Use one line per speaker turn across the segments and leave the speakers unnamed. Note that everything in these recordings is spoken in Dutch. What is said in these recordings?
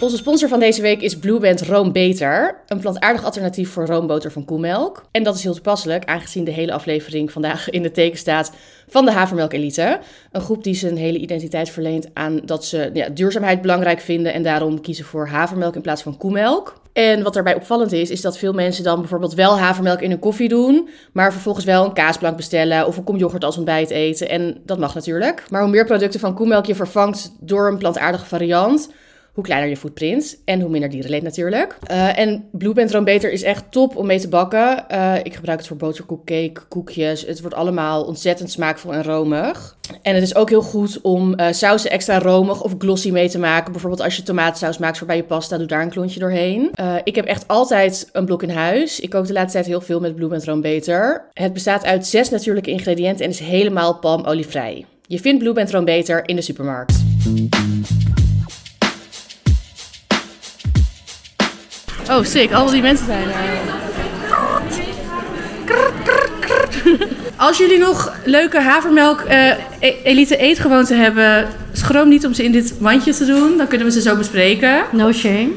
Onze sponsor van deze week is Blueband Roombeter. Een plantaardig alternatief voor roomboter van koemelk. En dat is heel toepasselijk, aangezien de hele aflevering vandaag in het teken staat van de havermelk elite. Een groep die zijn hele identiteit verleent aan dat ze ja, duurzaamheid belangrijk vinden en daarom kiezen voor havermelk in plaats van koemelk. En wat daarbij opvallend is, is dat veel mensen dan bijvoorbeeld wel havermelk in hun koffie doen, maar vervolgens wel een kaasblank bestellen of een kom yoghurt als ontbijt eten. En dat mag natuurlijk. Maar hoe meer producten van koemelk je vervangt door een plantaardige variant, hoe kleiner je footprint en hoe minder dierenleed natuurlijk. Eh, en Blue Band Roombeter is echt top om mee te bakken. Eh, ik gebruik het voor boterkoekcake, koekjes. Het wordt allemaal ontzettend smaakvol en romig. En het is ook heel goed om eh, sausen extra romig of glossy mee te maken. Bijvoorbeeld als je tomatensaus maakt voor bij je pasta, doe daar een klontje doorheen. Eh, ik heb echt altijd een blok in huis. Ik kook de laatste tijd heel veel met Blue Band Roombeter. Het bestaat uit zes natuurlijke ingrediënten en is helemaal palmolievrij. Je vindt Blue Band Roombeter in de supermarkt. Oh, sick. Al die mensen zijn eh, er. Als jullie nog leuke havermelk eh, e- elite eetgewoonten hebben, schroom niet om ze in dit mandje te doen. Dan kunnen we ze zo bespreken.
No shame.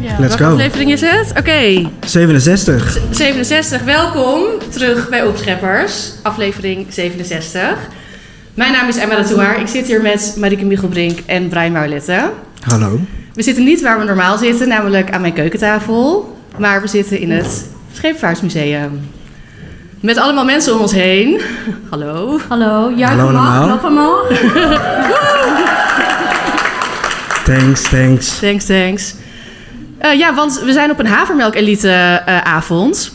Ja,
Let's
welke
go.
aflevering is het? Oké,
67.
67. Welkom terug bij Opscheppers, aflevering 67. Mijn naam is Emma de Toer. Ik zit hier met Marieke Michelbrink en Brian Maulette.
Hallo.
We zitten niet waar we normaal zitten, namelijk aan mijn keukentafel. Maar we zitten in het Scheepvaartsmuseum. Met allemaal mensen om ons heen. Hallo.
Hallo, juich
Hallo
hem
allemaal.
af, klap hem af.
Thanks, thanks.
Thanks, thanks. Eh, ja, want we zijn op een havermelk-elite-avond.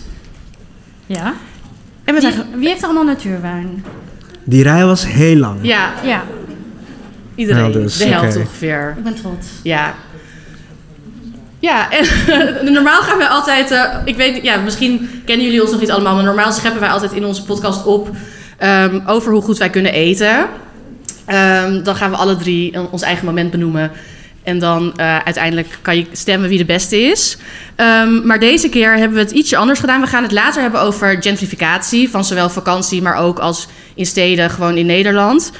Ja.
en we zijn...
Wie,
ge-
wie heeft er allemaal natuurwijn?
Die rij was heel lang.
Ja,
Ja,
iedereen.
Nou, dus,
de helft
oké.
ongeveer.
ik ben trots.
Ja. Ja, en normaal gaan wij altijd. eh, ik weet, niet- ja, misschien kennen jullie ons nog niet allemaal, maar normaal scheppen wij altijd in onze podcast op ehm, over hoe goed wij kunnen eten. Ehm, dan gaan we alle drie een- ons eigen moment benoemen. En dan eh, uiteindelijk kan je stemmen wie de beste is. Ehm, maar deze keer hebben we het ietsje anders gedaan. We gaan het later hebben over gentrificatie. Van zowel vakantie, maar ook als in steden, gewoon in Nederland.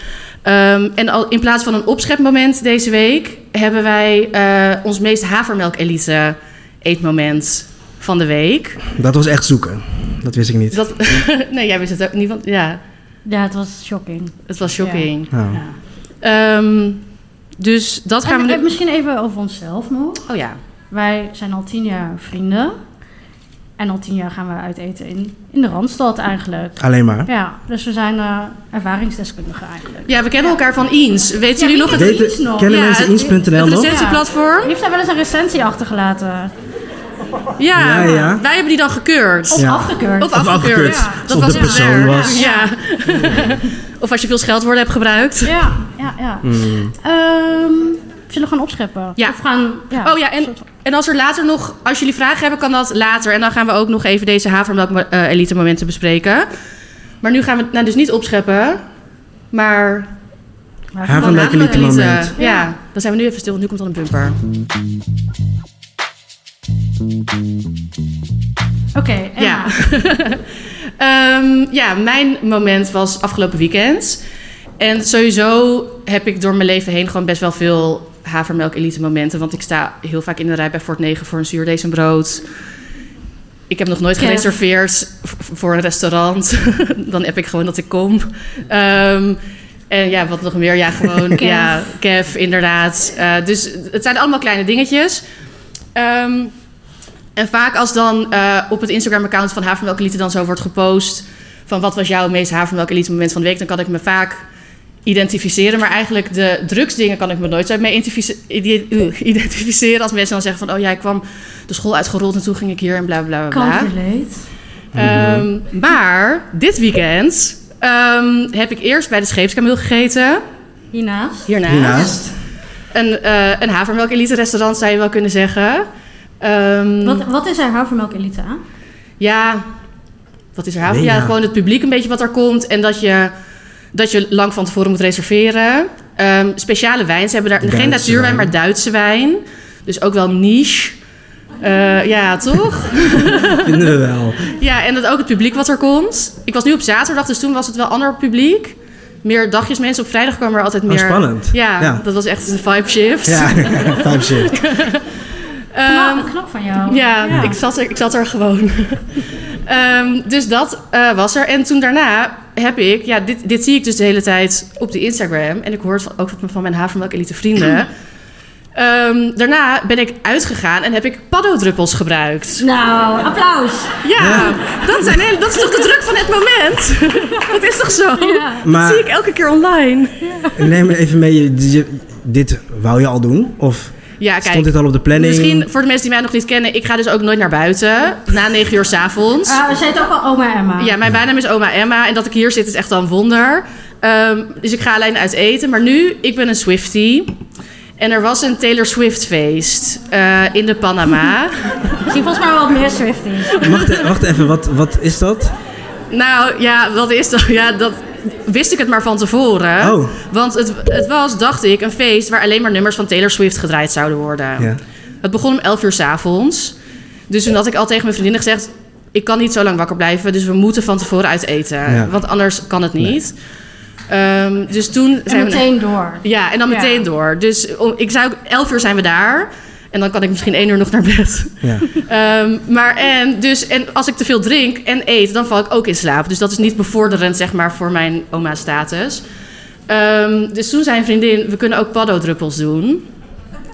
Ehm, en al, in plaats van een opschepmoment deze week... hebben wij eh, ons meest havermelk-elite eetmoment van de week.
Dat was echt zoeken. Dat wist ik niet.
Dat, nee, jij wist het ook niet. Want, ja,
Ja, het was shocking.
het was shocking.
Oh.
Ja.
Ehm, dus dat gaan
En,
we
en
nu...
misschien even over onszelf nog.
Oh ja.
Wij zijn al tien jaar vrienden. En al tien jaar gaan we uit eten in, in de Randstad eigenlijk.
Alleen maar.
Ja, dus we zijn eh, ervaringsdeskundigen eigenlijk.
Ja, we kennen elkaar van Eens. Weten
Ja,
jullie nog
ik
het,
ken
het
het iets nog.
kennen
Ja,
mensen
het-
eens.nl nog?
recept-
recensieplatform?
Heeft daar wel eens een recensie achtergelaten?
Ja,
Ja, ja.
wij hebben die dan gekeurd.
Of
Ja.
afgekeurd?
Of
afgekeurd.
Ja,
Of de
echt
persoon
erg.
was.
Ja. of als je veel scheldwoorden hebt gebruikt.
Ja, ja, ja.
Mm.
Ehm, zullen we gaan opscheppen?
Ja.
Of gaan, ja.
Oh ja, en, en als er later nog, als jullie vragen hebben, kan dat later. En dan gaan we ook nog even deze havermelk eh, elite momenten bespreken. Maar nu gaan we het nou dus niet opscheppen, maar
Maar
Haar
van-
Havermelk elite moment.
Ja. dan zijn we nu even stil, want nu komt dan een bumper.
Oké, Emma.
Ja. Ehm, ja, mijn moment was afgelopen weekend. En sowieso heb ik door mijn leven heen gewoon best wel veel havermelk elite momenten. Want ik sta heel vaak in de rij bij Fort 9 voor een zuurdees en brood. Ik heb nog nooit
Kef.
gereserveerd v- voor een restaurant. Dan heb ik gewoon dat ik kom. Ehm, en ja, wat nog meer? Ja, gewoon
Kef.
Ja, kef, inderdaad. Eh, dus het zijn allemaal kleine dingetjes. Ehm, en vaak als dan eh, op het Instagram-account van Havermelk Elite dan zo wordt gepost... van wat was jouw meest Havermelk Elite moment van de week... dan kan ik me vaak identificeren. Maar eigenlijk de drugsdingen kan ik me nooit zo mee identifice- ide- oeh, identificeren... als mensen dan zeggen van... oh ja, ik kwam de school uitgerold en toen ging ik hier en bla bla bla.
Kan Mhm.
bla.
relate.
Ehm, maar dit weekend ehm, heb ik eerst bij de Scheepskameel gegeten.
Hiernaast.
Hiernaast.
Een, eh een havermelk elite restaurant zou je wel kunnen zeggen. Ehm,
Wat, wat is er havermelk elite aan?
Ja, wat is er haver?
Nee,
Ja,
ja.
gewoon het publiek een beetje wat er komt. En dat je, dat je lang van tevoren moet reserveren. Ehm, speciale wijn. Ze hebben daar geen
Duitse
natuurwijn,
wijn.
maar Duitse wijn. Dus ook wel niche. Eh, ja, toch?
Vinden we wel.
Ja, en dat ook het publiek wat er komt. Ik was nu op zaterdag, dus toen was het wel ander publiek. Meer dagjes mensen. Op vrijdag kwamen er altijd
Oh,
meer.
spannend.
Ja,
Ja.
dat was echt een vibe shift.
Ja, time shift.
Ehm,
knap, knap Nou, van jou.
ja, Ik, zat er, ik zat er gewoon. Ehm, dus dat eh, was er. En toen daarna heb ik, ja, dit, dit zie ik dus de hele tijd op de Instagram. En ik hoor het van- ook van- van mijn havermelk elite vrienden. Ehm, daarna ben ik uitgegaan en heb ik paddo-druppels gebruikt.
Nou, applaus.
Ja, Dat, zijn hele, dat is toch de druk van het moment? dat is toch zo?
Ja.
Dat zie
Maar
ik elke keer online.
neem me even mee, je- je- dit wou je al doen? Of
Ja,
stond
kijk.
dit al op de planning?
Misschien voor de mensen die mij nog niet kennen, ik ga dus ook nooit naar buiten na negen uur 's avonds.
Ah, ze heet ook al oma
Ah,
Emma.
Ja, mijn bijnaam is oma Emma en dat ik hier zit is echt al een wonder. Ehm, dus ik ga alleen uit eten. Maar nu, ik ben een Swiftie. En er was een Taylor Swift feest eh, in de Panama.
Ik zie volgens mij wel wat meer Swifties.
Wacht, e- wacht even, wat, wat is dat?
nou ja, wat is dat? Ja, dat wist ik het maar van tevoren.
Oh.
Want het, het was, dacht ik, een feest waar alleen maar nummers van Taylor Swift gedraaid zouden worden.
Ja.
Het begon om 11 uur 's avonds. Dus toen had ik al tegen mijn vriendinnen gezegd: Ik kan niet zo lang wakker blijven, dus we moeten van tevoren uit eten.
Ja.
Want anders kan het niet. Ehm, dus toen
En
zijn we.
meteen door.
Ja, en dan
Ja.
meteen door. Dus om, ik zei ook: 11 uur zijn we daar. En dan kan ik misschien één uur nog naar bed.
Ja.
Ehm, maar en, dus, en als ik te veel drink en eet, dan val ik ook in slaap. Dus dat is niet bevorderend, zeg maar, voor mijn oma-status. Ehm, dus toen zei een vriendin, we kunnen ook paddo-druppels doen. Toen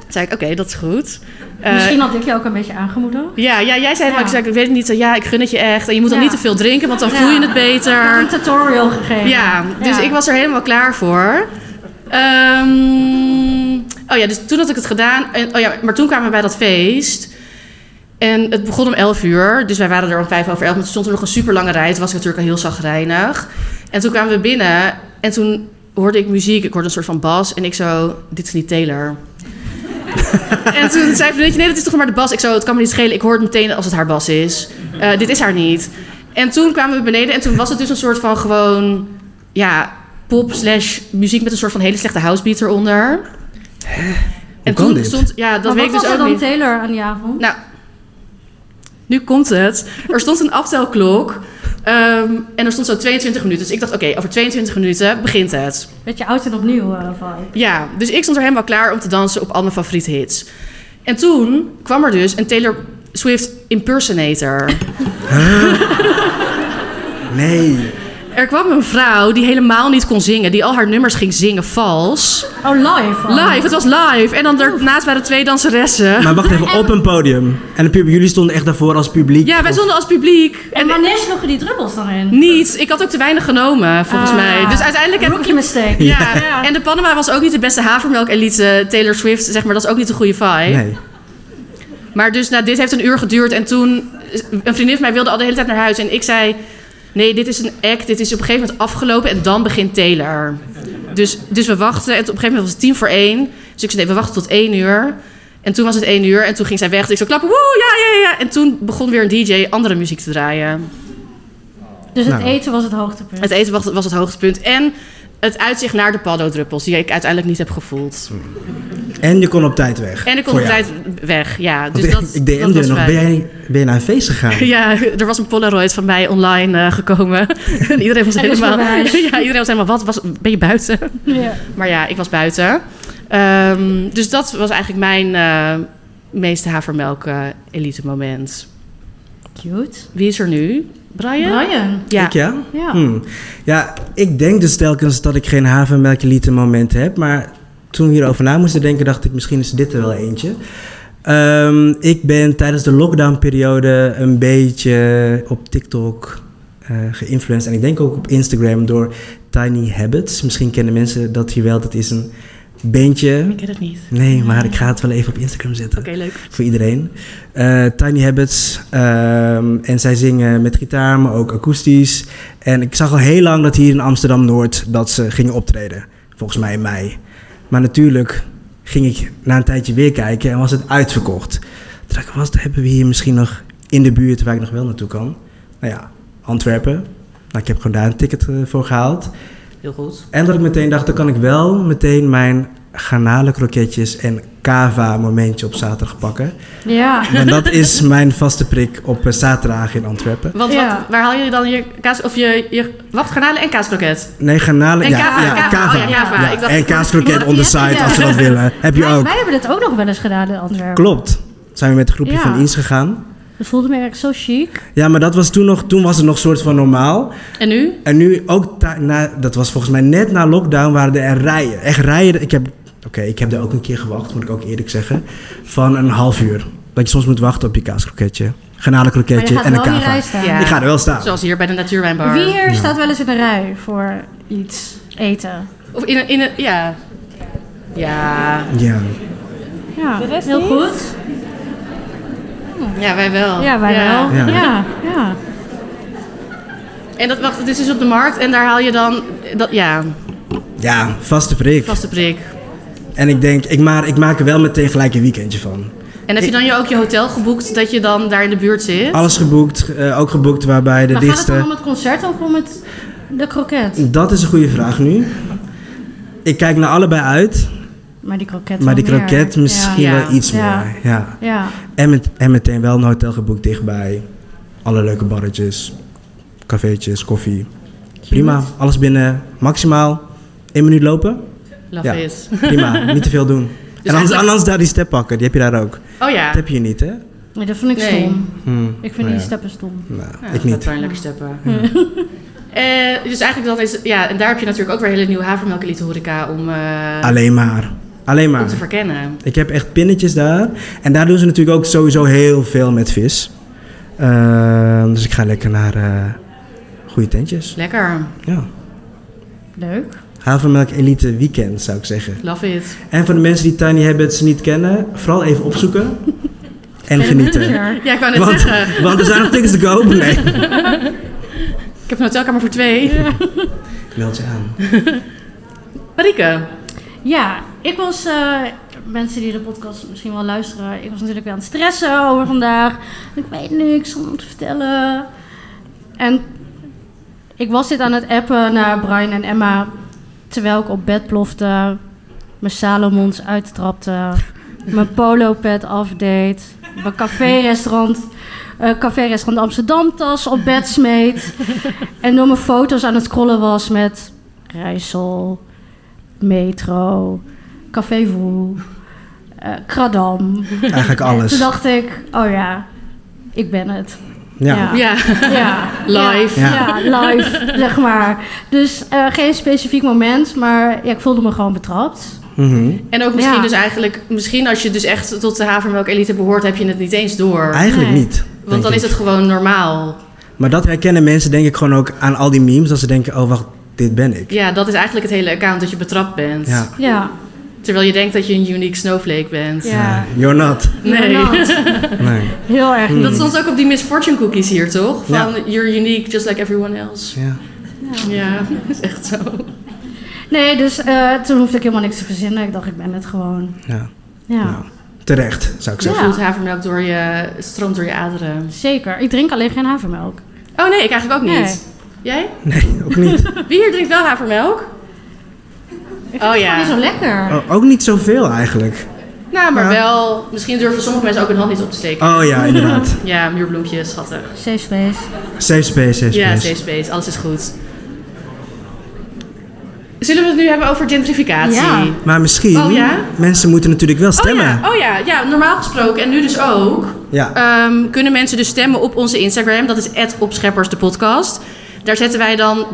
zei ik, oké, dat is goed. Eh,
Misschien had ik je ook een beetje aangemoedigd.
ja, ja, jij zei het, maar
Ja.
ik zei, ik weet het niet, eh, ja, ik gun het je echt. En je moet dan
Ja.
niet te veel drinken, want dan
Ja.
voel je het
Ik heb
beter.
een tutorial gegeven.
Ja, dus ik was er helemaal klaar voor. Ehm, oh ja, dus toen had ik het gedaan. En, oh ja, maar toen kwamen we bij dat feest. En het begon om 11 uur. Dus wij waren er om 5 over 11. Maar toen stond er nog een super lange rij. Toen was ik natuurlijk al heel zagrijnig. En toen kwamen we binnen. En toen hoorde ik muziek. Ik hoorde een soort van bas. En ik zo, dit is niet Taylor. en toen zei vriendinnetje, nee, dat is toch maar de bas. Ik zo, het kan me niet schelen. Ik hoor het meteen als het haar bas is. Eh, dit is haar niet. En toen kwamen we beneden. En toen was het dus een soort van gewoon... Ja, pop slash muziek met een soort van hele slechte housebeat eronder. en
kan
toen
dit?
stond... Ja, dat
maar
weet ik
wat
dus
was er
ook
dan
niet.
Taylor aan die avond?
Nou, nu komt het. Er stond een aftelklok. ehm, en er stond zo 22 minuten. Dus ik dacht, oké, over 22 minuten begint het.
Beetje oud en opnieuw eh van.
Ja, dus ik stond er helemaal klaar om te dansen op al mijn favoriete hits. En toen kwam er dus een Taylor Swift impersonator.
Nee.
Er kwam een vrouw die helemaal niet kon zingen. Die al haar nummers ging zingen vals.
Oh, live. al.
Live, het was live. En dan daarnaast waren twee danseressen.
Maar wacht even, op een podium. En de pub- jullie stonden echt daarvoor als publiek.
Ja, wij stonden als publiek.
En wanneer sloegen die druppels dan in?
Niets. Ik had ook te weinig genomen, volgens
Ah.
mij. Dus uiteindelijk heb ik...
Rookie mistake.
Ja.
Ja.
en de Panama was ook niet de beste havermelk-elite. Taylor Swift, zeg maar, dat is ook niet de goede vibe.
Nee.
Maar dus, nou, dit heeft een uur geduurd. En toen, een vriendin van mij wilde al de hele tijd naar huis. En ik zei, nee, dit is een act. Dit is op een gegeven moment afgelopen en dan begint Taylor. Dus, dus we wachten. En op een gegeven moment was het tien voor één. Dus ik zei, nee, we wachten tot één uur. En toen was het één uur. En toen ging zij weg. Dus ik zo klappen, woe, ja, ja, ja. En toen begon weer een DJ andere muziek te draaien.
Dus het
Nou.
eten was het hoogtepunt.
Het eten was, was het hoogtepunt. En het uitzicht naar de paddo-druppels, die ik uiteindelijk niet heb gevoeld.
En je kon op tijd weg.
En ik kon
Voor
op
jou.
tijd weg, ja. Dus
Want
dat,
ik
dat
DM'de
was
je nog,
fijn.
ben jij, ben je naar een feest gegaan?
Ja, er was een Polaroid van mij online eh, gekomen. en iedereen was
En dus
helemaal...
bewijs.
ja, iedereen was helemaal, wat, was, ben je buiten?
Ja.
maar ja, ik was buiten. Ehm, dus dat was eigenlijk mijn eh, meeste havermelk eh, elite moment.
Cute.
Wie is er nu? Brian?
Brian.
Ja.
Ik ja?
Ja.
Hm. Ja, ik denk dus telkens dat ik geen havenmelkelieten moment heb. Maar toen we hierover na moesten denken, dacht ik misschien is dit er wel eentje. Ehm, ik ben tijdens de lockdownperiode een beetje op TikTok eh geïnfluenced. En ik denk ook op Instagram door Tiny Habits. Misschien kennen mensen dat hier wel. Dat is een beentje.
Ik ken het niet. Oké,
Nee, maar ik ga het wel even op Instagram zetten
leuk.
voor iedereen. Eh, Tiny Habits. ehm, en zij zingen met gitaar, maar ook akoestisch. En ik zag al heel lang dat hier in Amsterdam-Noord dat ze gingen optreden. Volgens mij in mei. Maar natuurlijk ging ik na een tijdje weer kijken en was het uitverkocht. Toen dacht ik, wat hebben we hier misschien nog in de buurt waar ik nog wel naartoe kan? Nou ja, Antwerpen. Nou, ik heb gewoon daar een ticket eh, voor gehaald.
Heel goed.
En dat ik meteen dacht, dan kan ik wel meteen mijn garnalenkroketjes en kava momentje op zaterdag pakken.
Ja.
En dat is mijn vaste prik op eh, zaterdag in Antwerpen.
Want
Ja.
wat, waar haal je dan je kaas... Of je, je wachtgarnalen en kaaskroket?
Nee, garnalen.
En
ja,
kava,
ja,
kava.
kava.
Oh ja, kava.
Ja,
Ik dacht-
en kaaskroket on the side als ze dat willen. Heb je
Wij,
ook.
wij hebben dat ook nog wel eens gedaan in Antwerpen.
Klopt. Zijn we met een groepje
Ja.
van Eens gegaan.
Dat voelde me echt zo chic.
Ja, maar dat was toen nog, toen was het nog soort van normaal.
En nu?
En nu ook, ta- na, dat was volgens mij net na lockdown, waren er rijen. Echt rijen. Ik heb, oké, ik heb daar ook een keer gewacht, moet ik ook eerlijk zeggen. Van een half uur. Dat je soms moet wachten op je kaaskroketje,
Maar je
granalenkroketje
gaat
en een
wel in die
kava.
rij staan.
Ja.
Ik ga er wel staan.
Zoals hier bij de Natuurwijnbar.
Wie hier staat wel eens in de rij voor iets eten?
Of in een... In een ja. ja.
Ja.
Ja,
De rest
heel
niet?
goed.
Ja, wij wel.
Ja, wij wel. Ja.
Ja.
Ja. ja.
En dat, wacht, dit is dus op de markt en daar haal je dan... Dat, ja,
ja, vaste prik.
vaste prik.
En ik denk, ik, maar, ik maak er wel meteen gelijk een weekendje van.
En heb je dan je ook je hotel geboekt dat je dan daar in de buurt zit?
Alles geboekt, eh, ook geboekt waarbij de
Maar gaat het dan om
dichtste...
het concert of om het, de kroket?
Dat is een goede vraag nu. Ik kijk naar allebei uit,
Maar die kroket
maar die
wel meer.
kroket misschien
Ja.
wel iets
Ja.
meer. Ja.
Ja. ja.
En, met, en meteen wel een hotel geboekt dichtbij. Alle leuke barretjes, cafeetjes, koffie. Prima, alles binnen. Maximaal één minuut lopen.
Love
Ja.
is.
Prima, niet te veel doen.
Dus
en anders,
eigenlijk-
anders daar die step pakken, die heb je daar ook.
Oh ja.
Dat heb je hier niet, hè?
Nee, dat vind ik
Nee.
stom.
Hmm,
Ik vind
nou
die
ja.
steppen stom.
Nou,
Ja,
ik
Dat
niet.
waren lekker steppen. Eh, dus eigenlijk dat is... Ja, en daar heb je natuurlijk ook weer hele nieuwe havermelkelite horeca om, eh,
Alleen maar. Alleen
om te
maar.
verkennen.
Ik heb echt pinnetjes daar. En daar doen ze natuurlijk ook sowieso heel veel met vis. Ehm, dus ik ga lekker naar eh goede tentjes.
Lekker.
Ja.
Leuk.
Havermelk Elite Weekend zou ik zeggen.
Love it.
En voor de mensen die Tiny Habits niet kennen, vooral even opzoeken en genieten.
Ja.
Ja, ik wou net
Want,
zeggen.
want er zijn nog tickets te koop. Nee.
Ik heb een hotelkamer voor twee.
Meld je aan.
Marike.
Ja, ik was, eh, mensen die de podcast misschien wel luisteren, ik was natuurlijk weer aan het stressen over vandaag. Ik weet niks om te vertellen. En ik was dit aan het appen naar Brian en Emma, terwijl ik op bed plofte, mijn Salomons uittrapte, mijn polopet afdeed, mijn café-restaurant... eh, café-restaurant Amsterdam tas op bed smeet. en door mijn foto's aan het scrollen was met Rijssel, Metro, Café Woel, eh, Kradam.
Eigenlijk
Toen
alles.
dacht ik, oh ja, ik ben het.
Ja.
Ja.
ja.
Live.
Ja, ja, live, zeg maar. Dus eh, geen specifiek moment, maar ja, ik voelde me gewoon betrapt.
Mhm.
En ook misschien
Ja.
dus eigenlijk... Misschien als je dus echt tot de havermelkelite behoort, heb je het niet eens door.
Eigenlijk
Nee.
niet. Ah, denk
Want dan
ik.
is het gewoon normaal.
Maar dat herkennen mensen denk ik gewoon ook aan al die memes. Dat ze denken, oh wacht, dit ben ik.
Ja, dat is eigenlijk het hele account dat je betrapt bent.
Ja.
Ja,
Terwijl je denkt dat je een unique snowflake bent.
ja.
Nee, You're not.
Nee.
Inderdaad.
Nee.
Heel erg niet.
Dat stond ook op die misfortune cookies hier, toch? Van
Ja.
you're unique just like everyone else.
Ja.
Ja, dat is echt zo.
Nee, dus eh, toen hoefde ik helemaal niks te verzinnen. Ik dacht, ik ben het gewoon.
ja.
Ja,
Nou, terecht, zou ik
Zo
zeggen.
voelt havermelk door je, stroomt door je aderen.
zeker. Ik drink alleen geen havermelk.
Oh nee, ik eigenlijk ook niet.
Nee.
Jij?
Nee, ook niet.
Wie hier drinkt wel havermelk? Oh
Gewoon niet
ja.
zo lekker.
Oh, ook niet zoveel eigenlijk.
Nou, maar
Ja.
wel. Misschien durven sommige mensen ook hun hand niet op te steken.
Oh ja, inderdaad.
Ja, muurbloempjes, schattig.
Safe space.
Safe space, safe
Ja,
space.
safe space, alles is goed. Zullen we het nu hebben over gentrificatie?
Ja.
Maar misschien,
Oh ja?
mensen moeten natuurlijk wel stemmen.
Oh ja, oh ja, ja, normaal gesproken en nu dus ook.
Ja.
ehm, kunnen mensen dus stemmen op onze Instagram. Dat is opscheppers de podcast. Daar zetten wij dan.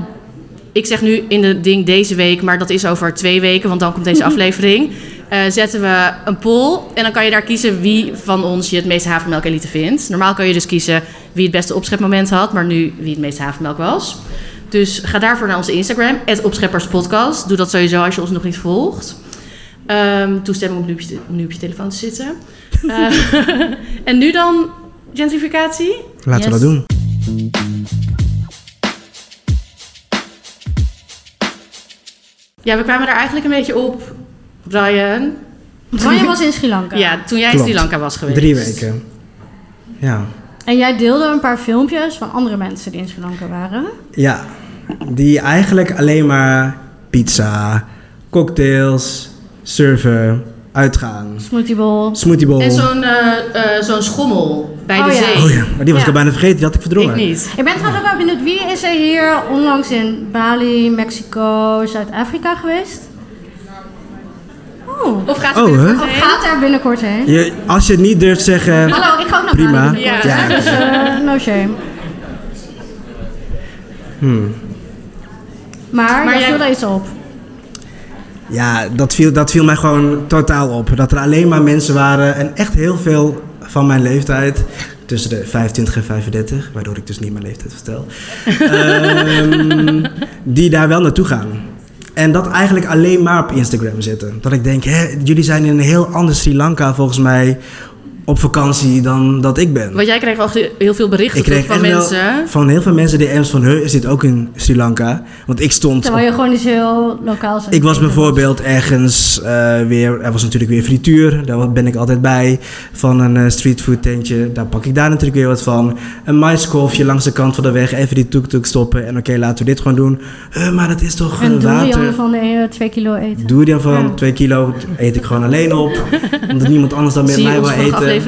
Ik zeg nu in het ding deze week, maar dat is over twee weken, want dan komt deze aflevering. eh, zetten we een poll en dan kan je daar kiezen wie van ons je het meeste havermelk elite vindt. Normaal kan je dus kiezen wie het beste opschepmoment had, maar nu wie het meeste havermelk was. Dus ga daarvoor naar onze Instagram, opschepperspodcast. Doe dat sowieso als je ons nog niet volgt. Ehm toestemming om nu op je, nu op je telefoon te zitten. Eh, en nu dan gentrificatie?
Laten we
Yes.
dat doen.
Ja, we kwamen daar eigenlijk een beetje op, Brian.
Brian was in Sri Lanka.
Ja, toen jij in
Klopt.
Sri Lanka was geweest.
Drie weken. Ja.
En jij deelde een paar filmpjes van andere mensen die in Sri Lanka waren.
Ja. Die eigenlijk alleen maar pizza, cocktails, surfen, uitgaan,
Smoothie bowl.
smoothiebol.
En zo'n eh, eh, zo'n schommel bij de
Oh ja.
zee.
Oh ja, maar die was ik
Ja.
al bijna vergeten, die had ik verdrongen.
Ik niet.
Ik ben trouwens ook wel benieuwd, wie is er hier onlangs in Bali, Mexico, Zuid-Afrika geweest? Oh,
Of gaat
Oh,
het weer
hè?
of
heen?
gaat er binnenkort heen?
Je, als je het niet durft zeggen,
Hallo, ik ga ook naar
prima.
Bali.
Ja.
Ja.
Dus eh, no shame.
Hmm.
Maar,
Maar
maar
jij-
jij viel er iets op.
Ja, dat viel, dat viel mij gewoon totaal op. Dat er alleen maar mensen waren en echt heel veel van mijn leeftijd. Tussen de 25 en 35, waardoor ik dus niet mijn leeftijd vertel. ehm, die daar wel naartoe gaan. En dat eigenlijk alleen maar op Instagram zitten. Dat ik denk, hè, jullie zijn in een heel ander Sri Lanka volgens mij op vakantie dan dat ik ben.
Want jij kreeg wel ge- heel veel berichten
Ik kreeg
toch van
echt wel
mensen.
van heel veel mensen DM's van, huh, is dit ook in Sri Lanka? Want ik stond op
Terwijl je gewoon iets heel lokaals aan het
ik was
eten
bijvoorbeeld ergens eh, weer, er was natuurlijk weer frituur, daar ben ik altijd bij, van een eh, streetfood tentje, daar pak ik daar natuurlijk weer wat van. Een maiskolfje langs de kant van de weg, even die toek-toek stoppen en oké, laten we dit gewoon doen. Eh, maar dat is toch
En
eh,
doe je
water?
dan van eh, twee kilo eten.
Doe die dan
Ja.
van 2 kilo, eet ik gewoon alleen op, omdat niemand anders dan met
Zie je
mij wil
onze vorige
eten.
aflevering.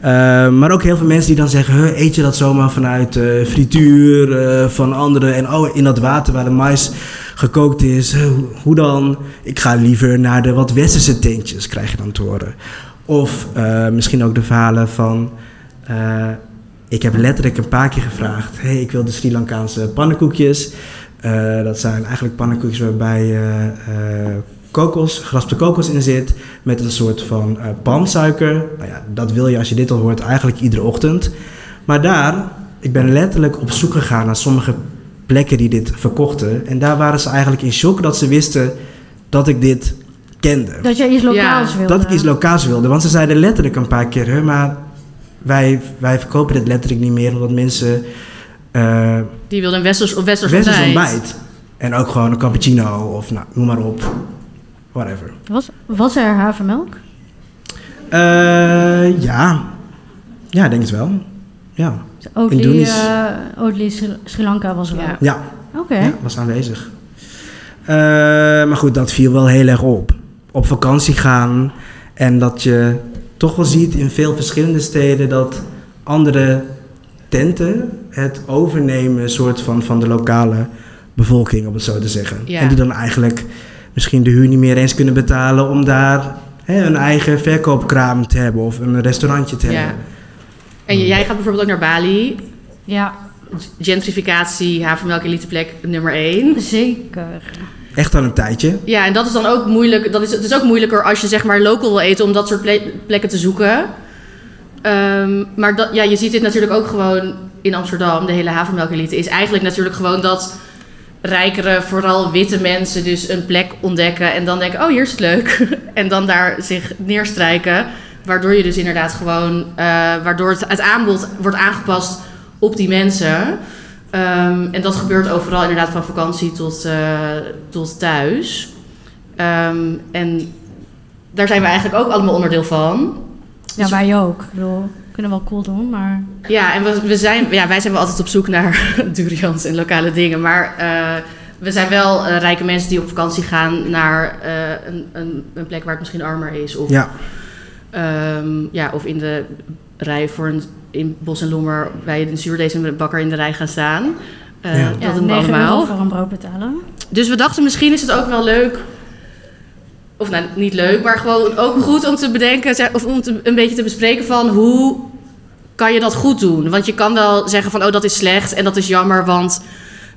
Eh, maar ook heel veel mensen die dan zeggen, huh, eet je dat zomaar vanuit eh, frituur eh, van anderen en oh, in dat water waar de mais gekookt is, huh, hoe- hoe dan? Ik ga liever naar de wat westerse tentjes, krijg je dan te horen. Of eh, misschien ook de verhalen van, eh, ik heb letterlijk een paar keer gevraagd, hey, ik wil de Sri Lankaanse pannenkoekjes. Eh, dat zijn eigenlijk pannenkoekjes waarbij eh, eh, kokos, geraspte kokos in zit met een soort van eh palmsuiker. Nou ja, dat wil je als je dit al hoort eigenlijk iedere ochtend. Maar daar, ik ben letterlijk op zoek gegaan naar sommige plekken die dit verkochten. En daar waren ze eigenlijk in shock dat ze wisten dat ik dit kende.
Dat je iets lokaals
Ja,
wilde.
Dat ik iets lokaals wilde. Want ze zeiden letterlijk een paar keer, hè, maar wij, wij verkopen dit letterlijk niet meer omdat mensen... eh,
Die wilde een westers, op westers,
Westers
ontbijt.
ontbijt. En ook gewoon een cappuccino of nou, noem maar op. Whatever.
Was, was er havermelk?
Eh, ja. Ja, ik denk het wel. Ja.
Oatly,
Indonesisch.
eh Oatly Sri, Sri Lanka was er
Ja.
ook.
Ja,
Oké.
ja, was aanwezig. Eh, maar goed, dat viel wel heel erg op. Op vakantie gaan en dat je toch wel ziet in veel verschillende steden dat andere tenten het overnemen soort van, van de lokale bevolking, om het zo te zeggen.
Ja.
En die dan eigenlijk misschien de huur niet meer eens kunnen betalen om daar hè, een eigen verkoopkraam te hebben of een restaurantje te
Ja.
hebben.
En
Hmm.
j- jij gaat bijvoorbeeld ook naar Bali.
Ja,
Gentrificatie, havermelk, eliteplek nummer 1.
zeker.
Echt al een tijdje.
Ja, en dat is dan ook moeilijk. Dat is, het is ook moeilijker als je zeg maar local wil eten om dat soort ple- plekken te zoeken. Ehm, maar dat, ja, je ziet dit natuurlijk ook gewoon in Amsterdam. De hele havermelkelite is eigenlijk natuurlijk gewoon dat rijkere, vooral witte mensen dus een plek ontdekken. En dan denken, oh hier is het leuk. en dan daar zich neerstrijken. Waardoor je dus inderdaad gewoon, eh, waardoor het, het aanbod wordt aangepast op die mensen. Ehm, en dat gebeurt overal inderdaad van vakantie tot, eh, tot thuis. Ehm, en daar zijn we eigenlijk ook allemaal onderdeel van.
Ja, wij ook. Ik bedoel, we kunnen wel cool doen, maar...
Dus- Ja, en we, we zijn, ja, wij zijn wel altijd op zoek naar durians en lokale dingen. Maar eh, we zijn wel eh, rijke mensen die op vakantie gaan naar eh, een, een, een plek waar het misschien armer is. Of,
Ja.
ehm, ja, of in de rij voor een, in Bos en Lommer bij een zuurdees en bakker in de rij gaan staan. Eh,
Ja.
Dat
Ja,
doen we
9
allemaal.
euro voor een brood betalen.
Dus we dachten, misschien is het ook wel leuk. Of nou, niet leuk, maar gewoon ook goed om te bedenken. zeg- Of om te- een beetje te bespreken van hoe kan je dat goed doen? Want je kan wel zeggen van, oh, dat is slecht en dat is jammer. Want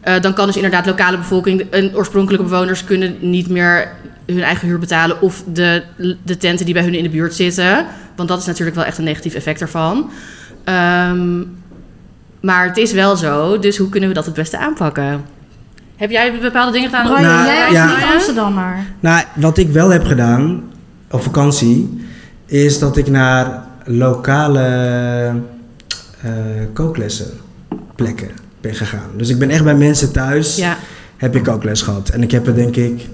eh, dan kan dus inderdaad lokale bevolking... En oorspronkelijke bewoners kunnen niet meer hun eigen huur betalen... of de, de tenten die bij hun in de buurt zitten. Want dat is natuurlijk wel echt een negatief effect daarvan. Ehm, maar het is wel zo, dus hoe kunnen we dat het beste aanpakken? Heb jij bepaalde dingen gedaan?
Brian,
Nou,
jij
ja.
is niet Amsterdam, maar...
Nou, wat ik wel heb gedaan op vakantie, is dat ik naar lokale eh kooklessen plekken ben gegaan. Dus ik ben echt bij mensen thuis,
Ja.
heb ik kookles gehad. En ik heb er denk ik,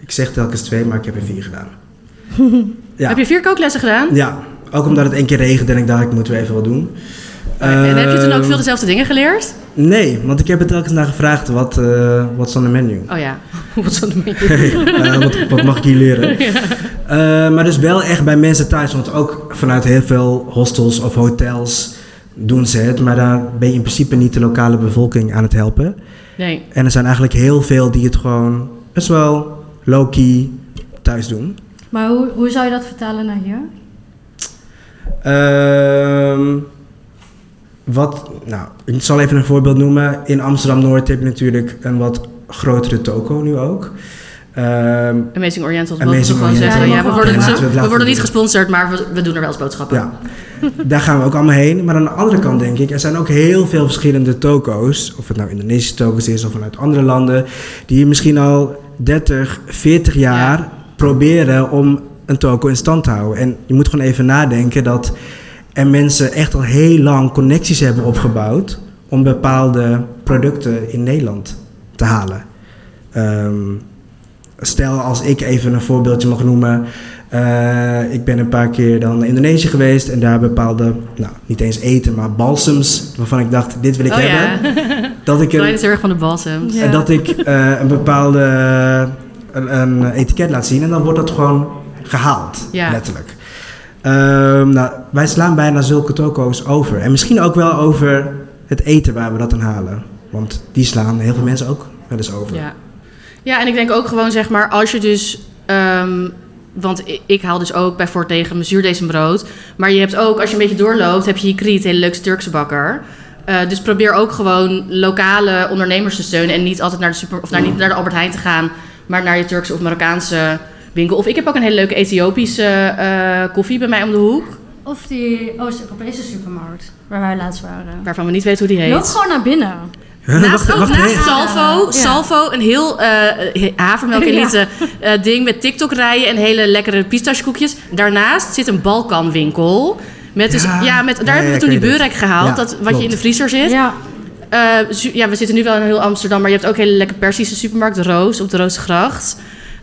ik zeg telkens twee, maar ik heb er vier gedaan. ja.
Heb je vier kooklessen gedaan?
ja, ook omdat het één keer regende en ik dacht, ik moet weer even wat doen.
en heb je toen ook
Ehm,
veel dezelfde dingen geleerd?
Nee, want ik heb het telkens naar gevraagd. Wat eh is on the menu?
Oh ja, wat zo'n manier.
Eh, wat, wat mag ik hier leren? Eh, maar dus wel echt bij mensen thuis. Want ook vanuit heel veel hostels of hotels doen ze het. Maar daar ben je in principe niet de lokale bevolking aan het helpen.
Nee,
En er zijn eigenlijk heel veel die het gewoon best wel low-key thuis doen.
Maar hoe, hoe zou je dat vertalen naar hier?
Ehm, wat, nou, ik zal even een voorbeeld noemen. In Amsterdam-Noord heb je natuurlijk een wat grotere toko nu ook. Ehm,
Amazing Oriental, dat
Amazing
mogen we gewoon
Oriental.
zeggen.
Ja,
Ja, we
mogen we
worden,
gewoon
zo-
zeggen.
we worden niet gesponsord, maar we, we doen er wel eens boodschappen.
ja, daar gaan we ook allemaal heen. Maar aan de andere kant denk ik, er zijn ook heel veel verschillende toko's. Of het nou Indonesische toko's is of vanuit andere landen. Die hier misschien al 30, 40 jaar proberen om een toko in stand te houden. En je moet gewoon even nadenken dat er mensen echt al heel lang connecties hebben opgebouwd. Om bepaalde producten in Nederland te halen. Ehm, stel als ik even een voorbeeldje mag noemen. Eh, ik ben een paar keer dan naar Indonesië geweest en daar bepaalde, nou niet eens eten, maar balsams waarvan ik dacht, dit wil ik
oh ja,
hebben. Dat ik,
Brian
een,
is heel erg van de balsems.
Ja.
dat ik eh, een bepaalde eh, een, een etiket laat zien en dan wordt dat gewoon gehaald,
Ja.
letterlijk. Ehm, nou, wij slaan bijna zulke toko's over. En misschien ook wel over het eten waar we dat aan halen. Want die slaan heel veel mensen ook wel eens over.
Ja. ja, en ik denk ook gewoon zeg maar, als je dus... ehm, want i- ik haal dus ook bij Fort tegen mijn zuurdesembrood. Maar je hebt ook, als je een beetje doorloopt, heb je hier Kriet, hele leuke Turkse bakker. Eh, dus probeer ook gewoon lokale ondernemers te steunen. En niet altijd naar de, super, of naar, niet naar de Albert Heijn te gaan, maar naar je Turkse of Marokkaanse winkel. Of ik heb ook een hele leuke Ethiopische eh, koffie bij mij om de hoek.
Of die Oost-Europese supermarkt, waar wij laatst waren.
Waarvan we niet weten hoe die heet.
Loop gewoon naar binnen.
Huh,
Naast, ook naast
even.
Salvo,
Ja.
Salvo, een heel eh havermelk elite ding met TikTok rijden en hele lekkere pistachekoekjes. Daarnaast zit een Balkanwinkel. Met dus, ja.
Ja.
met, daar
Ja,
hebben
ja,
we
ik
toen die
weet het.
beurrijk gehaald,
Ja,
dat, wat
klopt.
je in de vriezer zit. Ja.
Ja,
ja, we zitten nu wel in heel Amsterdam, maar je hebt ook hele lekkere Persische supermarkt, de Roos, op de Roosgracht.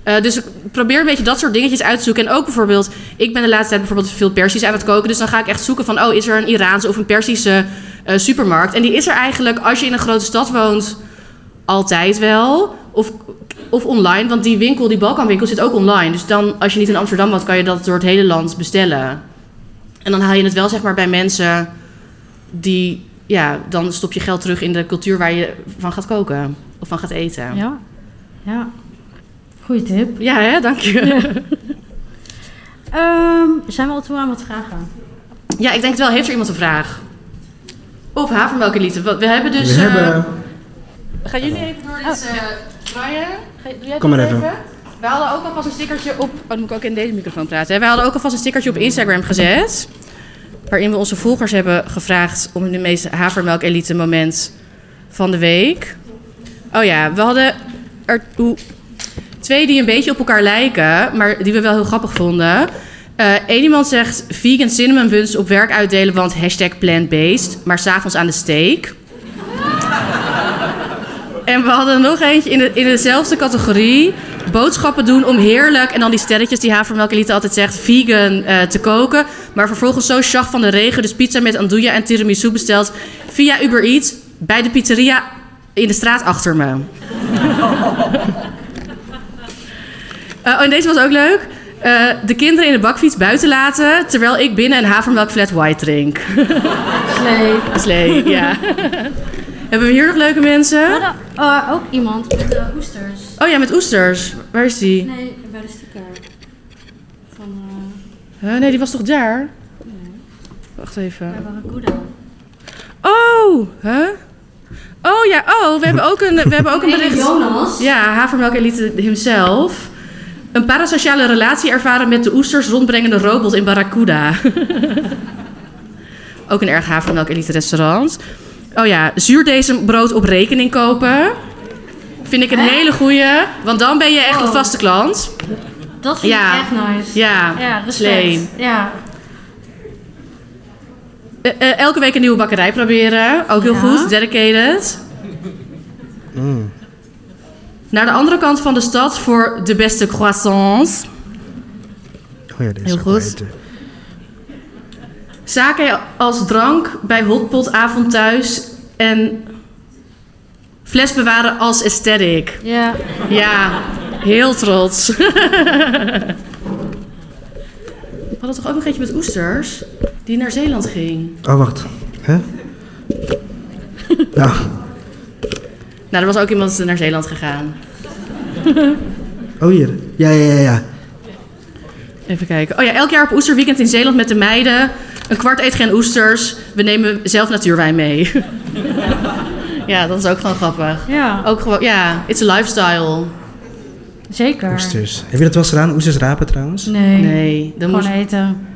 Eh dus probeer een beetje dat soort dingetjes uit te zoeken. En ook bijvoorbeeld, ik ben de laatste tijd bijvoorbeeld veel Persisch aan het koken. Dus dan ga ik echt zoeken van, oh, is er een Iraanse of een Persische eh, supermarkt? En die is er eigenlijk, als je in een grote stad woont, altijd wel. Of, of online, want die winkel, die Balkanwinkel, zit ook online. Dus dan, als je niet in Amsterdam woont, kan je dat door het hele land bestellen. En dan haal je het wel, zeg maar, bij mensen die... Ja, dan stop je geld terug in de cultuur waar je van gaat koken. Of van gaat eten. Ja,
ja, ja. Goeie tip.
hè? Dank je.
Ehm, zijn we al toe aan wat vragen?
Ja, ik denk het wel. Heeft er iemand een vraag? Of havermelkelite. We, we hebben dus...
we
eh,
hebben...
Gaan jullie even door dit... eh Brian, ga- doe jij
Kom
dit
maar even.
We hadden ook alvast een stickertje op... Oh, dan moet ik ook in deze microfoon praten. hè. We hadden ook alvast een stickertje op Instagram gezet... waarin we onze volgers hebben gevraagd... om de meest havermelkelite moment van de week. Oh ja, we hadden er oeh, twee die een beetje op elkaar lijken... maar die we wel heel grappig vonden... Eén iemand zegt vegan cinnamon buns op werk uitdelen, want hashtag plant-based, maar s'avonds aan de steak. En we hadden nog eentje in, de, in dezelfde categorie. Boodschappen doen om heerlijk. En dan die sterretjes die Havermelkelite altijd zegt. Vegan eh, te koken. Maar vervolgens zo sjag van de regen. Dus pizza met andouille en tiramisu besteld. Via Uber Eats. Bij de pizzeria in de straat achter me. Eh, oh, en deze was ook leuk. Eh, de kinderen in de bakfiets buiten laten. Terwijl ik binnen een havermelk flat white drink.
Slee.
Slee, ja. Hebben we hier nog leuke mensen?
Hadden, eh, ook iemand met de oesters.
Oh ja, met oesters. Waar is die?
Nee, bij de sticker. Van eh
Huh, nee, die was toch daar? Wacht
bij
even.
Barracuda.
Oh, hè? Oh ja, oh, we hebben ook een, we hebben ook een
Nee,
bericht.
Jonas.
Ja, Havermelk Elite himself. Een parasociale relatie ervaren met de oesters rondbrengende robot in Barracuda. ook een erg Havermelk Elite restaurant. Oh ja, zuurdesembrood op rekening kopen. Vind ik een hele goeie, want dan ben je echt een
Oh.
vaste klant.
Dat vind
Ja.
ik echt nice.
Ja,
Ja, respect.
slee.
Ja.
Eh, eh, elke week een nieuwe bakkerij proberen. Ook heel
Ja.
goed, dedicated. Naar de andere kant van de stad voor de beste croissants.
Oh ja, dit is
Heel
ook wel
goed.
eten.
Zaken als drank bij hotpot avond thuis en fles bewaren als aesthetic.
Ja.
Ja, heel trots. We hadden toch ook nog eentje met oesters die naar Zeeland ging.
Oh, wacht. Hè? ja.
Nou, er was ook iemand naar Zeeland gegaan.
Oh, hier. Ja, ja, ja, ja.
Even kijken. Oh ja, elk jaar op oesterweekend in Zeeland met de meiden. Een kwart eet geen oesters. We nemen zelf natuurwijn mee. ja, dat is ook gewoon grappig.
Ja,
Ook gewoon, ja, it's a lifestyle.
zeker.
Oesters. Heb je dat wel eens gedaan? Oesters rapen trouwens?
Nee.
Nee, dan
Gewoon
moet...
eten.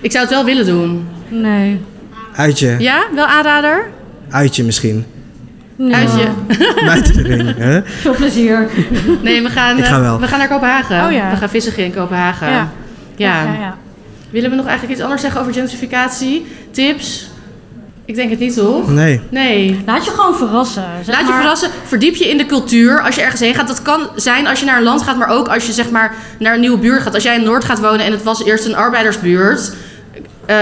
ik zou het wel willen doen.
Nee.
Uitje.
Ja, wel aanrader?
Uitje misschien.
Nee.
Uitje.
Buiten de ring. Hè?
Veel plezier.
Nee, we gaan,
Ik ga
eh,
wel.
we gaan naar Kopenhagen.
Oh ja.
We gaan vissen in Kopenhagen.
Ja.
Ja.
ja, ja.
Willen we nog eigenlijk iets anders zeggen over gentrificatie? Tips? Ik denk het niet, toch?
Nee.
Nee.
Laat je gewoon verrassen. Zeg
Laat je
maar-
verrassen, verdiep je in de cultuur als je ergens heen gaat. Dat kan zijn als je naar een land gaat, maar ook als je zeg maar naar een nieuwe buurt gaat. Als jij in Noord gaat wonen en het was eerst een arbeidersbuurt, eh,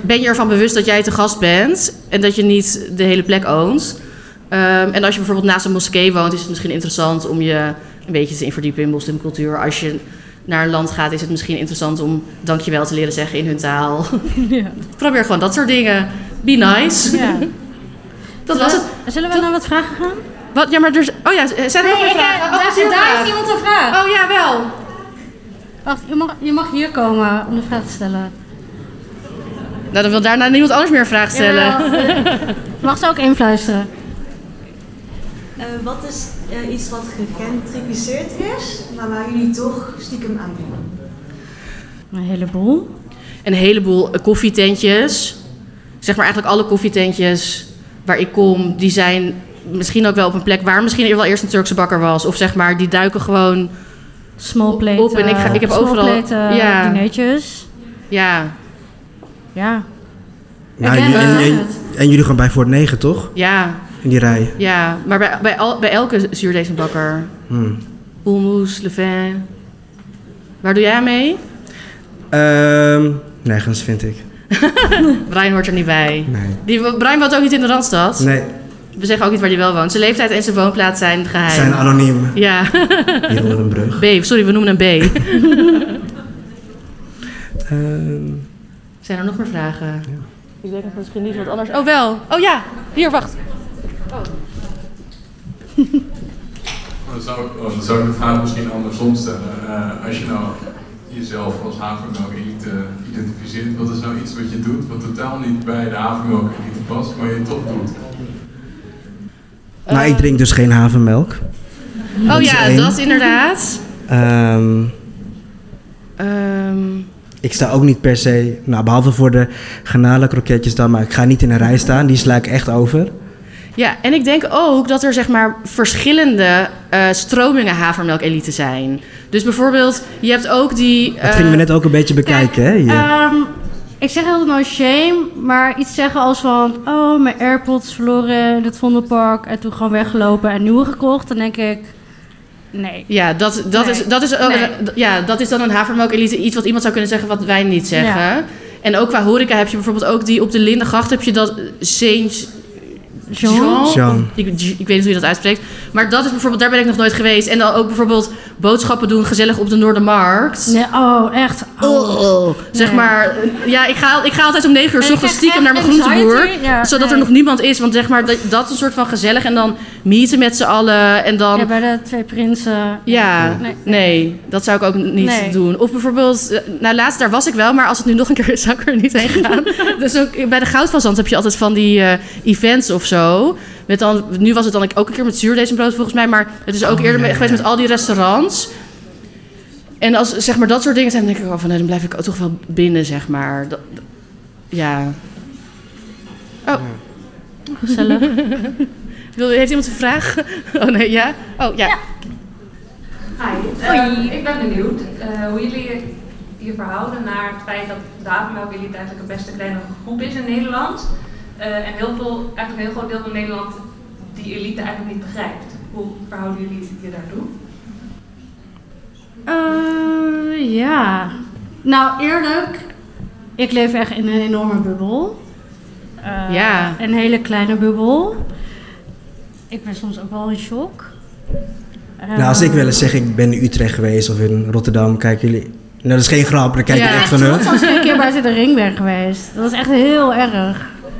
ben je ervan bewust dat jij te gast bent en dat je niet de hele plek oont. Ehm, en als je bijvoorbeeld naast een moskee woont, is het misschien interessant om je een beetje te verdiepen in moslimcultuur. Als je naar een land gaat, is het misschien interessant om dankjewel te leren zeggen in hun taal.
Ja.
Probeer gewoon dat soort dingen. Be nice.
Ja.
Dat was het.
Zullen we naar wat vragen gaan?
Wat? Ja, maar er... Oh ja, zijn er nog meer vragen? Oh, is hier een vraag?
eh, iemand een vraag.
Oh ja, wel.
Wacht, je mag, je mag hier komen om de vraag te stellen.
Nou, dan wil daarna niemand anders meer een vraag stellen.
Je mag ze ook influisteren.
Eh, wat is eh, iets wat gegentrificeerd is, maar waar jullie toch stiekem aan doen?
Een heleboel.
Een heleboel eh, koffietentjes. Zeg maar eigenlijk alle koffietentjes waar ik kom, die zijn misschien ook wel op een plek waar misschien wel eerst een Turkse bakker was. Of zeg maar, die duiken gewoon...
Small plate.
Op en ik ga- ik heb
small
overal-
plate, eh,
ja.
dinertjes.
Ja,
Ja.
Nou,
Ik ben eh,
jullie- en,
wel-
en, en jullie gaan bij Fort 9, toch?
ja,
In die rij.
ja. Maar bij, bij, al, bij elke zuurdezenbakker.
Hmm.
Boelmoes, Levin. Waar doe jij aan mee?
Ehm, nergens, vind ik.
Brian hoort er niet bij.
Nee.
Die, Brian woont ook niet in de Randstad.
Nee,
We zeggen ook niet waar hij wel woont. Zijn leeftijd en zijn woonplaats zijn geheim.
zijn anoniem.
Ja,
Hier onder een brug.
B. Sorry, we noemen hem B.
Ehm,
Zijn er nog meer vragen? Ik denk dat misschien niet wat anders... Oh, wel. Oh ja, hier, wacht.
Maar Dan zou, ik, oh, dan zou ik de vraag misschien andersom stellen. Eh, als je nou jezelf als havermelk-elite identificeert, wat is nou iets wat je doet wat totaal niet bij de havermelk-elite past, maar je toch doet?
nou, ik drink dus geen havenmelk.
Oh
is
ja,
één.
dat inderdaad.
Ehm,
Ehm,
ik sta ook niet per se, nou, behalve voor de granalenkroketjes dan, maar ik ga niet in een rij staan. Die sla ik echt over.
ja, en ik denk ook dat er zeg maar verschillende eh, stromingen havermelk-elite zijn. Dus bijvoorbeeld, je hebt ook die...
Dat
eh,
gingen we net ook een beetje bekijken, hè? hier.
Ehm, ik zeg altijd no shame, maar iets zeggen als van... Oh, mijn Airpods verloren in het Vondelpark. En toen gewoon weggelopen en nieuwe gekocht. Dan denk ik... Nee.
Ja, dat, dat,
Nee.
is, dat, is ook,
Nee.
d- ja, dat is dan een havermelk-elite. Iets wat iemand zou kunnen zeggen wat wij niet zeggen. En ook qua horeca heb je bijvoorbeeld ook die... Op de Lindengracht heb je dat eh, Saint
John?
Jean.
Ik, ik weet niet hoe je dat uitspreekt. Maar dat is bijvoorbeeld, daar ben ik nog nooit geweest. En dan ook bijvoorbeeld boodschappen doen gezellig op de Noordermarkt.
Nee, oh, echt. Oh.
Zeg
Nee.
maar, ja, ik ga, ik ga altijd om 9 uur
En
s
ik
ochtends
krijg
stiekem naar mijn
echt
groenteboer.
anxiety. Ja,
zodat er
nee.
nog niemand is. Want zeg maar, dat, dat is een soort van gezellig. En dan meeten met z'n allen. En dan.
Ja, bij de twee prinsen.
Ja,
Nee.
nee, dat zou ik ook niet
Nee.
doen. Of bijvoorbeeld, eh, nou laatst daar was ik wel, maar als het nu nog een keer is, zou ik er niet heen gaan. dus ook bij de Goudvazand heb je altijd van die eh, events of zo. Met dan, nu was het dan ook een keer met zuurdezenbrood volgens mij, maar het is ook eerder
ja,
me-
Oh, ja,
geweest
ja.
met al die restaurants. En als zeg maar dat soort dingen zijn, dan denk ik oh, van nee, dan blijf ik ook toch wel binnen, zeg maar. Dat, dat- ja. Oh.
Gezellig.
Wil- Heeft iemand een vraag? Oh nee, ja? Oh ja.
Hi. Ehm, ik ben benieuwd eh, hoe jullie je verhouden naar het feit dat de havenmelkelite eigenlijk een best een kleine groep is in Nederland. Eh, en heel veel, eigenlijk een heel groot deel van Nederland die elite eigenlijk niet begrijpt. Hoe verhouden jullie je daartoe?
Eh, ja. Nou, eerlijk. Ik leef echt in een enorme bubbel. Eh,
Ja.
Een hele kleine bubbel. Ik ben soms ook wel in shock. Eh,
Nou, als ik wel eens zeg, ik ben in Utrecht geweest of in Rotterdam, kijken jullie... Nou, dat is geen grap, dan kijken
Ja,
jullie echt van...
Dat
Huh?
was een keer bij ze de ring ben geweest. Dat was echt heel erg.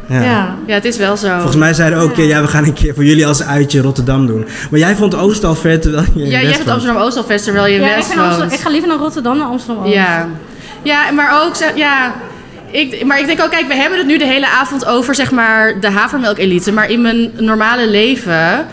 Ja.
ja.
Ja, het is wel zo.
Volgens mij zeiden ook, ja. ja, we gaan een keer voor jullie als uitje Rotterdam doen. Maar jij vond Oost al ver, terwijl je in
ja, jij
West
hebt
woont.
Amsterdam Oost al vast, terwijl je
Ja, ik,
West
vind Amsterdam-
woont.
ik ga liever naar Rotterdam dan Amsterdam. Oost.
Ja. ja, maar ook, zeg- ja. Ik, maar ik denk ook, kijk, we hebben het nu de hele avond over, zeg maar, de havermelkelite. Maar in mijn normale leven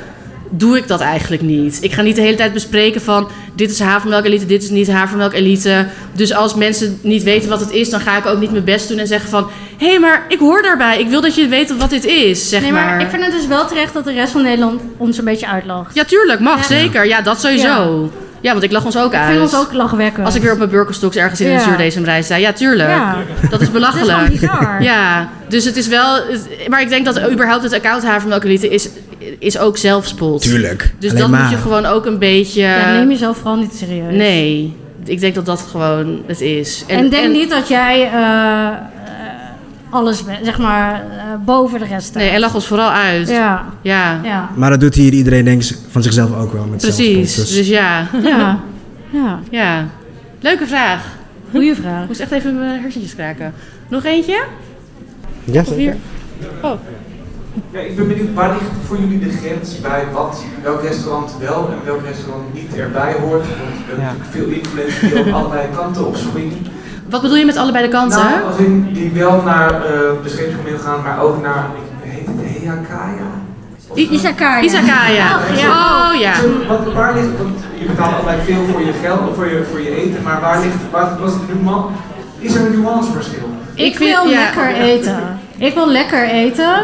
doe ik dat eigenlijk niet. Ik ga niet de hele tijd bespreken van, dit is havermelkelite, dit is niet havermelkelite. Dus als mensen niet weten wat het is, dan ga ik ook niet mijn best doen en zeggen van... Hé, hey, maar ik hoor daarbij. Ik wil dat je weet wat dit is, zeg
Nee, maar ik vind het dus wel terecht dat de rest van Nederland ons een beetje uitlacht.
Ja, tuurlijk, mag,
Ja.
zeker. Ja, dat sowieso. Ja. want ik lach ons ook
ik
uit.
vind ons ook lachwekkend.
dus Als ik weer op mijn Birkenstocks ergens in een
Ja.
zuurdesemrij sta. Ja, tuurlijk.
Ja,
Dat is
dat is wel
belachelijk.
bizar.
Ja, dus het is wel... het- Maar ik denk dat überhaupt het account havermelkelieten is, is ook zelfspot.
Tuurlijk,
Dus
alleen
dat
maar.
moet je gewoon ook een beetje...
Ja, neem jezelf vooral niet serieus.
nee, ik denk dat dat gewoon het is.
En, denk niet dat jij eh, eh, alles, bent, zeg maar, eh, boven de rest staat.
Nee, en lach ons vooral uit. Ja,
Ja, ja,
Maar dat doet hier iedereen denk ik van zichzelf ook wel met
precies.
zelfspot. Dus-
Dus ja.
ja. ja.
ja. Leuke vraag. Ik
Goeie vraag.
moest echt even mijn hersentjes kraken. Nog eentje?
Ja,
Of hier?
Ja, ik ben benieuwd, waar ligt voor jullie de grens bij wat, welk restaurant wel en welk restaurant niet erbij hoort? Want we hebben
Ja.
natuurlijk veel influencers die op allerlei kanten opspringen.
Wat bedoel je met allebei de kanten?
Nou, als in die wel naar eh, de scheepsgemiddel gaan, maar ook naar, ik- heet het Heakaya? Of-
I-
Isakaya.
Izakaya.
Ach, ja.
Oh ja.
Zo, Wat, waar ligt, want je betaalt altijd veel voor je geld, voor je, voor je eten, maar waar ligt, waar, was het nuance, is er een nuanceverschil?
Ik,
Ik
wil
vind- ja.
lekker eten. Ik wil lekker eten.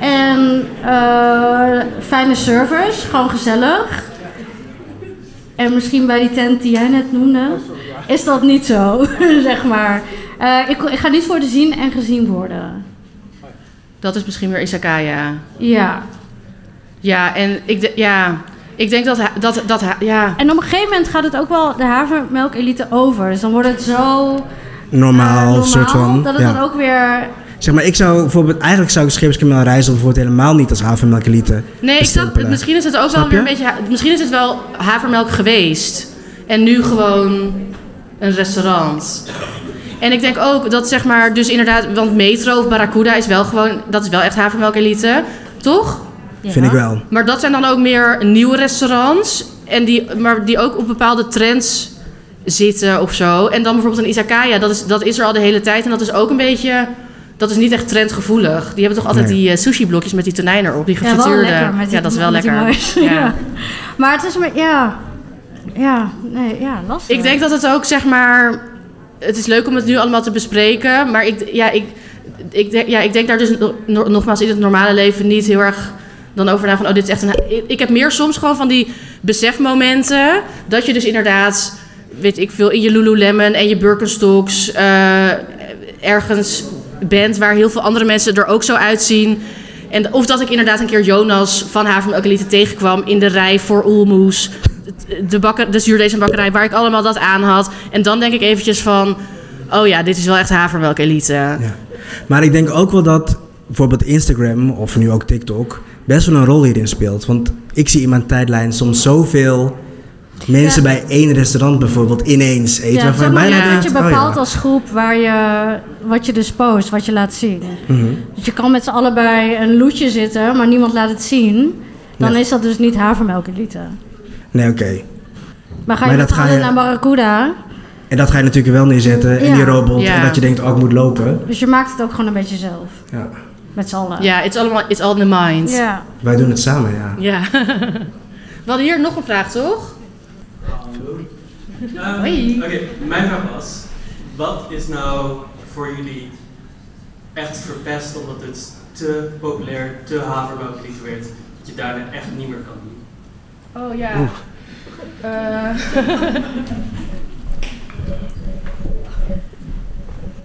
En eh, fijne service, gewoon gezellig. En misschien bij die tent die jij net noemde, is dat niet zo, zeg maar. Eh, ik, ik ga niet voor de zien en gezien worden.
Dat is misschien weer Izakaya.
Ja.
Ja, en ik, de- ja, ik denk dat, ha- dat, dat ha- ja.
En op een gegeven moment gaat het ook wel de havermelkelite over. Dus dan wordt het zo eh,
Normaal, soort van.
dat het
ja.
dan ook weer...
Zeg maar, ik zou bijvoorbeeld, eigenlijk zou ik scheepskameel reizen bijvoorbeeld helemaal niet als havenmelkelieten.
Nee, ik snap,
bestempelen.
misschien is het ook wel
Snap
weer een
je?
beetje, ha- misschien is het wel havermelk geweest. En nu gewoon een restaurant. En ik denk ook dat zeg maar, dus inderdaad, want Metro of Barracuda is wel gewoon, dat is wel echt havermelk elite, toch?
Ja.
Vind ik wel.
Maar dat zijn dan ook meer nieuwe restaurants. En die, maar die ook op bepaalde trends zitten of zo. En dan bijvoorbeeld een izakaya, dat is, dat is er al de hele tijd. En dat is ook een beetje... Dat is niet echt trendgevoelig. Die hebben toch altijd
Nee.
die eh, sushi-blokjes met die tonijn erop. Die
Ja, wel
gefrituurde.
lekker met die,
ja, dat is wel
met die
lekker.
muis.
Ja.
Ja. Maar het is maar... Ja. Ja, nee, ja, lastig.
Ik denk dat het ook, zeg maar... Het is leuk om het nu allemaal te bespreken. Maar ik, ja, ik, ik, denk, ja, ik denk daar dus no- no- nogmaals in het normale leven niet heel erg dan over na van... Oh, dit is echt een... ha- Ik- Ik heb meer soms gewoon van die besefmomenten... dat je dus inderdaad, weet ik veel, in je Lululemon en je Birkenstocks... eh, ergens bent waar heel veel andere mensen er ook zo uitzien... En of dat ik inderdaad een keer Jonas van Havermelkelite tegenkwam in de rij voor Oelmoes. De, bakker, de zuurdezenbakkerij waar ik allemaal dat aan had. En dan denk ik eventjes van, oh ja, dit is wel echt Havermelkelite.
Ja. Maar ik denk ook wel dat bijvoorbeeld Instagram of nu ook TikTok best wel een rol hierin speelt. Want ik zie in mijn tijdlijn soms zoveel mensen
Ja.
bij één restaurant bijvoorbeeld ineens eten.
Ja,
waarvan je
zeg maar
bijna
dat
denkt,
je
oh
bepaalt
ja.
als groep waar je, wat je dus post, wat je laat zien.
Mhm.
Dus je kan met z'n allebei een loetje zitten, maar niemand laat het zien. Dan
Ja.
is dat dus niet havermelkelite.
Nee, oké.
Maar ga
Maar
je met
dat
z'n
ga
allen
je-
naar Barracuda,
En dat ga je natuurlijk wel neerzetten. En
Ja.
die robot.
Ja.
En dat je denkt, oh, ik moet lopen.
dus je maakt het ook gewoon een beetje zelf.
Ja.
Met z'n allen.
Ja, it's, allemaal, it's all in the mind.
Ja.
Wij doen het samen, ja.
Ja. We hadden hier nog een vraag, toch?
Ehm,
Hoi.
Oké, mijn vraag was: wat is nou voor jullie echt verpest omdat het te populair, te havermelklied werd, dat je daarna echt niet meer kan doen?
Oh ja. Eh.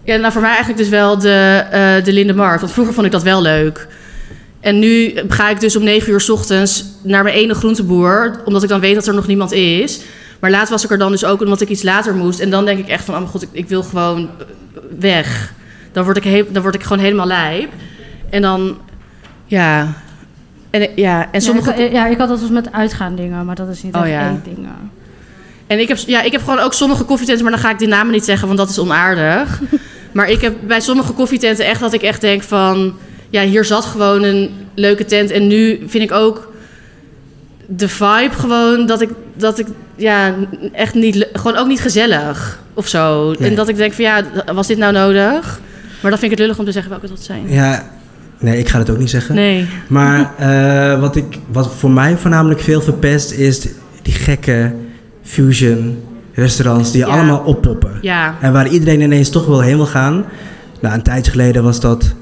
ja, nou voor mij eigenlijk dus wel de, eh de Lindemark. Want vroeger vond ik dat wel leuk. En nu ga ik dus om 9 uur 's ochtends naar mijn ene groenteboer. Omdat ik dan weet dat er nog niemand is. Maar laat was ik er dan dus ook omdat ik iets later moest. En dan denk ik echt van, oh mijn god, ik, ik wil gewoon eh, weg. dan word ik, he- dan word ik gewoon helemaal lijp. En dan, ja. En, eh, ja, en sommige...
ja, ik, ja, ik had dat dus met uitgaan dingen, maar dat is niet
Oh,
echt
ja.
één dingen.
En ik heb, ja, ik heb gewoon ook sommige koffietenten, maar dan ga ik die namen niet zeggen, want dat is onaardig. maar ik heb bij sommige koffietenten echt dat ik echt denk van... Ja, hier zat gewoon een leuke tent. En nu vind ik ook de vibe gewoon dat ik... Dat ik ja, echt niet... le- Gewoon ook niet gezellig of zo.
Nee.
En dat ik denk van ja, was dit nou nodig? Maar dan vind ik het lullig om te zeggen welke dat zijn.
Ja, nee, ik ga dat ook niet zeggen.
Nee.
Maar eh, wat, ik, wat voor mij voornamelijk veel verpest is die gekke fusion restaurants die
Ja.
allemaal oppoppen.
Ja.
En waar iedereen ineens toch wel heen wil gaan. Nou, een tijdje geleden was dat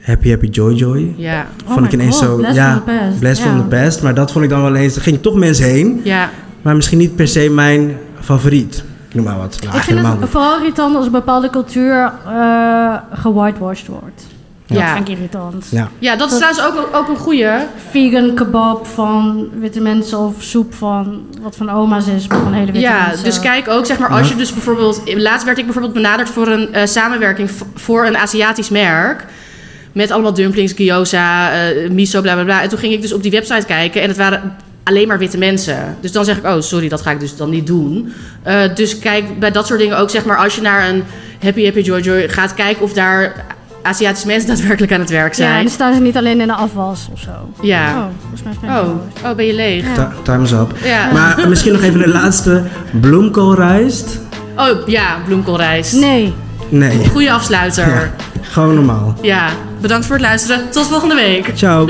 Happy Happy Joy Joy.
Ja.
Oh
vond ik
my
ineens
God,
zo,
Bless
ja,
from the Past,
Bless
ja.
from the Past. Maar dat vond ik dan wel eens, er gingen toch mensen heen.
Ja.
Maar misschien niet per se mijn favoriet. Ik noem maar wat. Nou,
ik vind
helemaal
het
niet.
vooral irritant als een bepaalde cultuur eh gewhitewashed wordt.
Ja.
Dat vind ik irritant.
Ja.
Ja, dat is trouwens ook, ook een goeie.
Vegan kebab van witte mensen of soep van wat van oma's is, maar van hele witte
Ja,
mensen.
dus kijk ook, zeg maar, als je dus bijvoorbeeld... Laatst werd ik bijvoorbeeld benaderd voor een eh, samenwerking v- voor een Aziatisch merk. Met allemaal dumplings, gyoza, eh, miso, bla bla bla. En toen ging ik dus op die website kijken en het waren alleen maar witte mensen. Dus dan zeg ik, oh sorry, dat ga ik dus dan niet doen. Eh, dus kijk bij dat soort dingen ook, zeg maar, als je naar een Happy Happy Joy Joy gaat kijken of daar Aziatische mensen daadwerkelijk aan het werk
Ja, en
zijn.
dan staan ze niet alleen in de afwas of zo.
Ja.
Oh, volgens mij is mijn
Oh,
gehoord.
oh, ben je leeg?
Ti- Time's up.
Ja.
Maar misschien nog even de laatste. Bloemkoolrijst?
Oh ja, bloemkoolrijst.
Nee.
Nee,
Goeie afsluiter.
gewoon normaal.
Ja, bedankt voor het luisteren. Tot volgende week.
Ciao.